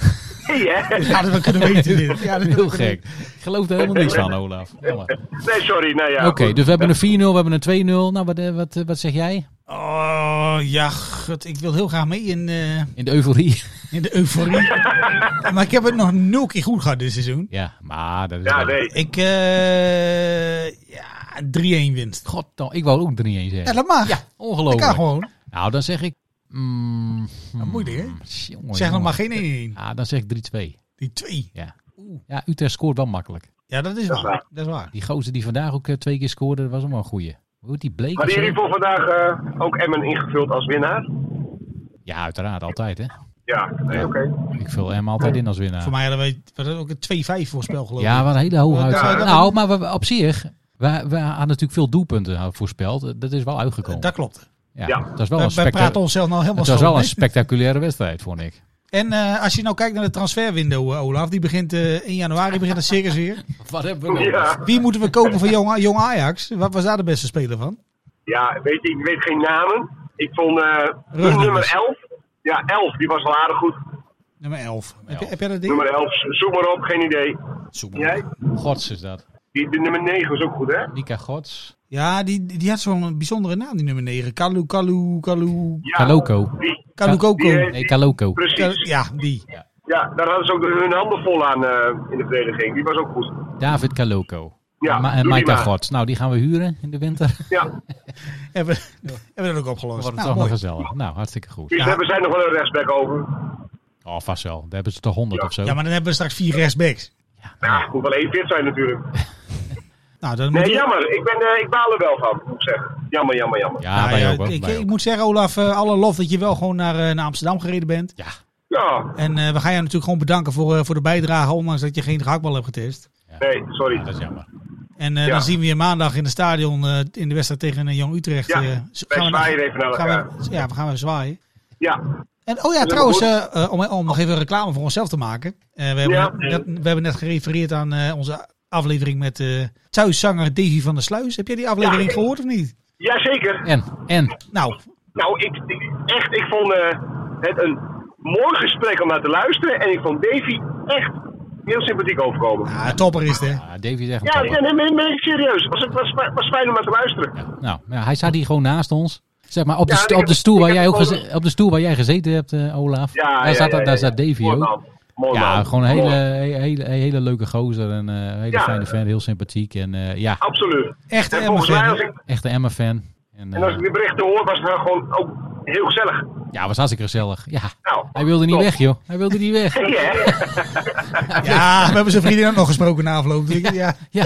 Nee, hè?
ja, dat we kunnen weten dit. Ja, dat
Heel gek. Ik geloof er helemaal niks van, Olaf. Jammer.
Nee, sorry. Nou ja.
Oké, dus we hebben een 4-0, we hebben een 2-0. Nou, wat, eh, wat, eh, wat zeg jij?
Oh, ja, god, ik wil heel graag mee in, eh,
In de euforie.
in de euforie. maar ik heb het nog nul keer goed gehad dit seizoen.
Ja, maar dat is...
Ja,
wel-
nee.
Ik, eh ja, 3-1 winst.
God, ik wou ook 3-1 zeggen.
Ja, dat mag. Ja, dat kan
Ongelooflijk.
gewoon.
Nou, dan zeg ik... Mm,
Dat moet hè?
jongen,
Zeg nog
jongen.
maar geen 1-1.
Ja, dan zeg ik 3-2.
Die 2.
Ja. ja, Utrecht scoort wel makkelijk.
Ja, dat is waar. Dat is waar.
Die gozer die vandaag ook eh, twee keer scoorde, dat was ook wel een goeie. Hoe heet die Blake? of
Hadden
zo?
jullie voor vandaag eh, ook Emmen ingevuld als winnaar?
Ja, uiteraard, altijd hè.
Ja, nee, oké.
Ik vul hem altijd in als
Voor
winnaar.
mij hadden wij was dat ook een 2-5 voorspel geloof ik.
Ja, wat een hele hoge
Ja,
uitslag.
dat-
Nou, maar we- op zich, we, we hadden natuurlijk veel doelpunten eh, voorspeld. Dat is wel uitgekomen.
dat klopt.
ja,
ja.
Dat is wel
Wij,
een
wij praten
spectaculaire...
onszelf nou helemaal
Het was wel
schoon,
een
hè?
spectaculaire wedstrijd, vond ik.
En eh, als je nou kijkt naar de transferwindow, eh, Olaf, die begint eh 1 januari begint het circus weer.
Wat hebben we nog?
Ja.
Wie moeten we kopen voor jong, jong Ajax? Wat was daar de beste speler van?
ja, weet je, ik weet geen namen. Ik vond eh,
Rugnummers.
nummer 11. Ja, 11, die was wel aardig goed.
Nummer 11. Heb, je,
Elf.
heb jij dat ding?
Nummer 11, zoek maar op, geen idee.
Zoek maar.
Jij?
Gods is dat.
Die, de nummer 9 was ook goed, hè?
Nika Gods.
Ja, die, die had zo'n bijzondere naam, die nummer 9. Kalu, Kalu, Kalu,
Ja,
Kaloko.
Die,
Kalu
die,
Koko.
eh,
Nee, Kaloko.
precies.
Ja, die.
Ja, daar hadden ze ook hun handen vol aan eh, in de verdediging. Die was ook goed.
David Kaloko.
Ja,
Ma- en
doe die
Mika
maar.
Gods. Nou, die gaan we huren in de winter.
Nou,
Ja,
Hebben, hebben we dat ook opgelost.
Wordt het toch
Nou,
nog
mooi.
gezellig. Nou, hartstikke goed.
dus
Ja.
daar hebben zij nog wel een rechtsback over.
Oh, vast wel. Daar hebben ze toch 100 of zo.
Ja, maar dan hebben we straks vier rechtsbacks.
Ja, moet wel één fit zijn natuurlijk.
Nou, dan
Nee,
moeten we-
jammer. Ik, ben, eh, ik baal er wel van, moet ik zeggen. Jammer, jammer, jammer. Ja,
Ja,
Nou
wij
ja,
ook. hoor.
ik,
Wij
ik
ook.
moet zeggen, Olaf, eh, alle lof dat je wel gewoon naar, eh, naar Amsterdam gereden bent.
Ja,
En eh, we gaan jou natuurlijk gewoon bedanken voor, eh, voor de bijdrage, ondanks dat je geen gehaktbal hebt getest.
nee, sorry.
dat is jammer.
En eh,
Ja.
dan zien we je maandag in het stadion eh, in de wedstrijd tegen eh, Jong Utrecht.
Ja,
eh,
wij
gaan we
zwaaien even naar
gaan we, Ja, we gaan weer zwaaien.
Ja,
En oh ja,
dat
trouwens,
goed?
eh, eh, om, om nog even reclame voor onszelf te maken. Eh, we, hebben
Ja.
net, we hebben net gerefereerd aan eh, onze aflevering met eh thuiszanger Davy van der Sluis. Heb jij die aflevering
Ja.
gehoord of niet?
jazeker.
En, en.
Nou,
Nou, ik, ik- echt, ik vond eh, het een mooi gesprek om naar te luisteren. En ik vond Davy echt heel sympathiek overkomen.
ah, topper is het hè.
Ah, Davy is echt een
Ja,
topper.
nee, nee, nee, nee, serieus. Was, was, was fijn om naar te luisteren.
Ja, Nou, ja, hij staat hier gewoon naast ons. Zeg maar, op de,
Ja,
st-
ik
op
heb-
de, stoel,
ik
waar
heb
jij ook
gewoon-
geze- op de stoel waar jij gezeten hebt, eh, Olaf.
Ja,
daar
ja,
staat,
ja, ja,
daar
ja.
staat Davy
Mooi
ook.
man. Mooi
Ja,
man.
gewoon een hele,
Mooi.
hele, hele, hele leuke gozer. En eh, een hele
Ja.
fijne fan, heel sympathiek. En eh, ja,
Absoluut.
Echt
En
een
volgens
Emma
mij,
fan,
als ik,
echt een Emma-fan. En,
en als
eh,
ik die berichten hoor, was het wel gewoon ook heel gezellig.
ja, was hartstikke gezellig. Ja,
Nou,
hij wilde niet
top.
weg, joh. Hij wilde niet weg.
Ja, hè?
Ja, we hebben zijn vriendin ook nog gesproken na afloop. Dus ik- ja.
Ja,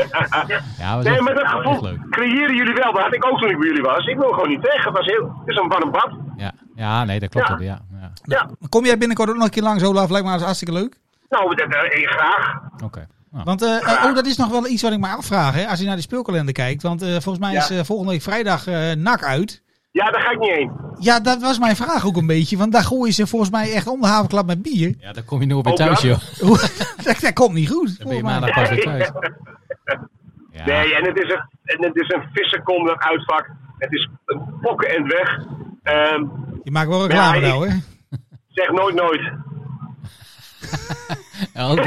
ja was
Nee,
echt,
maar dat
echt
gevoel
leuk.
creëren jullie wel. Dat had ik ook toen ik bij jullie was. Ik wil gewoon niet weg. Het, was heel, het is een warm bad.
Ja, ja nee, dat klopt.
Ja.
ook, Ja. Ja.
Ja,
Kom jij binnenkort ook nog een keer langs, Olaf? Lijkt me hartstikke leuk.
nou, dat, eh, eh, graag.
Oké. Nou,
Want eh, eh, oh, dat is nog wel iets wat ik me afvraag. Hè, als je naar die speelkalender kijkt. Want eh, volgens mij
Ja.
is eh, volgende week vrijdag eh NAC uit.
Ja, daar ga ik niet heen.
Ja, dat was mijn vraag ook een beetje. Want daar gooien ze volgens mij echt om de havenklap met bier.
ja, dan kom je nooit bij
Ook
thuis,
dat?
joh.
dat, dat komt niet goed.
Dan ben je
volgens mij.
maandag pas weer thuis. Ja.
Nee, en het is een, en het is een vissenkondig uitvak. Het is een pokken en weg. Ehm,
Je maakt wel reclame
Ja, ik-
nou, hè?
zeg nooit nooit.
Ja, ook-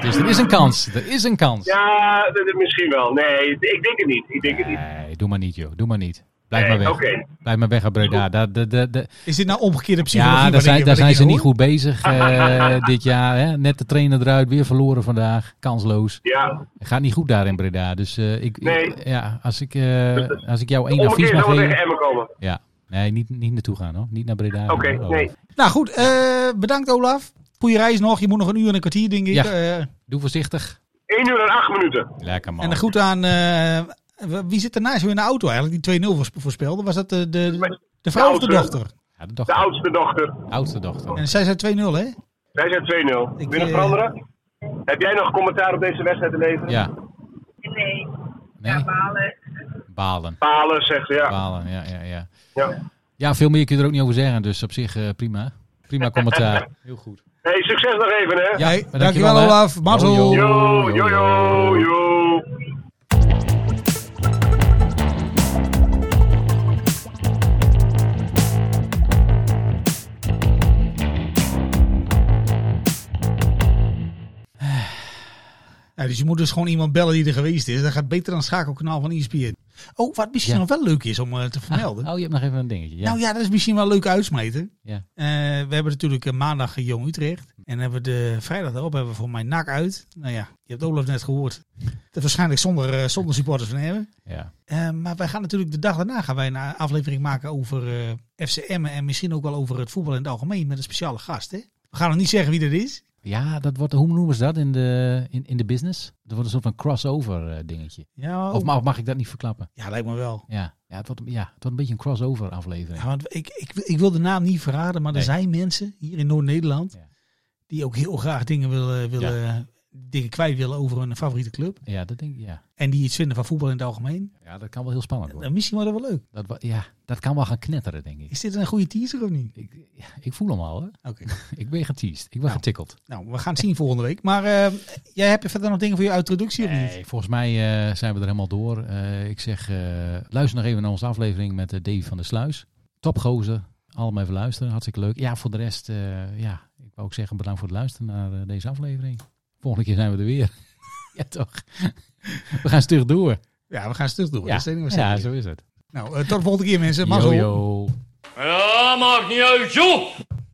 dus er is een kans. Er is een kans.
Ja, dat is misschien wel. Nee, ik denk het niet. Ik denk het niet.
Nee, doe maar niet, joh. Doe maar niet. Blijf
Nee,
maar weg.
oké.
Blijf maar weg uit Breda. Daar, daar, daar, daar-
Is dit nou omgekeerde psychologie?
ja,
wat
daar
ik-
zijn,
wat
daar zijn
ik hier
ze niet
hoor?
goed bezig eh, dit jaar. Hè? Net de trainer eruit, weer verloren vandaag. Kansloos.
Ja,
Het gaat niet goed daar in Breda. Dus eh, ik,
Nee.
ja, als, ik, eh, als ik jou één advies
omgekeerd
mag
zullen we
geven...
tegen Emmen komen.
Ja. Nee, niet, niet naartoe gaan hoor. Niet naar Breda.
Oké,
Oh.
nee.
Nou goed, eh, bedankt Olaf. Goeie reis nog. Je moet nog een uur en een kwartier, denk ik.
Ja.
Eh,
Doe voorzichtig.
1 uur en 8 minuten.
Lekker man.
en goed aan... eh, wie zit er naast jou in de auto eigenlijk, die 2-0 voors- voorspelde? Was dat de, de, de vrouw of de
oudste.
dochter?
Ja, de
De
dochter.
oudste dochter.
oudste dochter.
En zij zei 2-0, hè?
Wij zijn 2-0. Wil je
Ik,
nog
eh,
veranderen? Heb jij nog commentaar op deze wedstrijd te leveren?
Ja.
Nee,
Nee?
balen.
Balen.
Palen zegt, ja.
Balen, ja, ja, ja.
ja.
Ja, veel meer kun je er ook niet over zeggen. Dus op zich eh, prima. Prima commentaar. Heel goed.
Hey, succes nog even, hè.
Ja,
dankjewel,
dankjewel
hè.
Olaf. Mazzel.
Yo, yo.
Yo, yo, yo, yo.
Ja, dus je moet dus gewoon iemand bellen die er geweest is. Dat gaat beter dan het schakelkanaal van E ESPN. Oh, wat misschien
Ja.
nog wel leuk is om eh, te vermelden.
Oh, je hebt nog even een dingetje. Ja.
Nou ja, dat is misschien wel leuk uitsmeten.
ja.
Eh, we hebben natuurlijk eh, maandag eh, Jong Utrecht. En hebben we de vrijdag daarop hebben we voor mijn nak uit. Nou ja, je hebt Olaf net gehoord. Dat is waarschijnlijk zonder, eh, zonder supporters van hebben.
ja.
Eh, maar wij gaan natuurlijk de dag daarna gaan wij een aflevering maken over eh FCM en misschien ook wel over het voetbal in het algemeen met een speciale gast. Hè? We gaan nog niet zeggen wie dat is.
Ja, dat wordt, hoe noemen ze dat in de, in, in de business? Dat wordt een soort van crossover eh, dingetje.
Ja,
Of, ma- of mag ik dat niet verklappen?
ja, lijkt me wel.
Ja, ja, het, wordt, een- ja het wordt een beetje een crossover aflevering.
Ja, want ik, ik, ik wil de naam niet verraden, maar er
Nee.
zijn mensen hier in Noord-Nederland
Ja.
die ook heel graag dingen willen, willen dingen kwijt willen over hun favoriete club.
Ja, dat denk ik, ja.
En die iets vinden van voetbal in het algemeen.
Ja, dat kan wel heel spannend worden.
Dan misschien wordt dat wel leuk.
Dat, wa- ja, dat kan wel gaan knetteren, denk ik.
Is dit een goede teaser of niet?
Ik, ja, ik voel hem al, hoor.
Oké,
Ik ben geteased. Ik ben
Nou,
getikkeld.
nou we gaan het zien volgende week. Maar eh, jij hebt verder nog dingen voor je introductie of niet?
Nee, volgens mij eh, zijn we er helemaal door. Eh, ik zeg, eh, luister nog even naar onze aflevering met eh, Davy van der Sluis. Topgozer. Allemaal even luisteren. Hartstikke leuk. Ja, voor de rest, eh, ja, ik wou ook zeggen bedankt voor het luisteren naar eh, deze aflevering. Volgende keer zijn we er weer. ja, toch? we gaan stug door.
Ja, we gaan stuk door.
Ja,
Dat is het enige wat
ja
zeker
zo is het.
is. Nou, eh, tot de volgende keer mensen. Mazzel.
Yo, yo.
Ja, maakt niet uit, joh!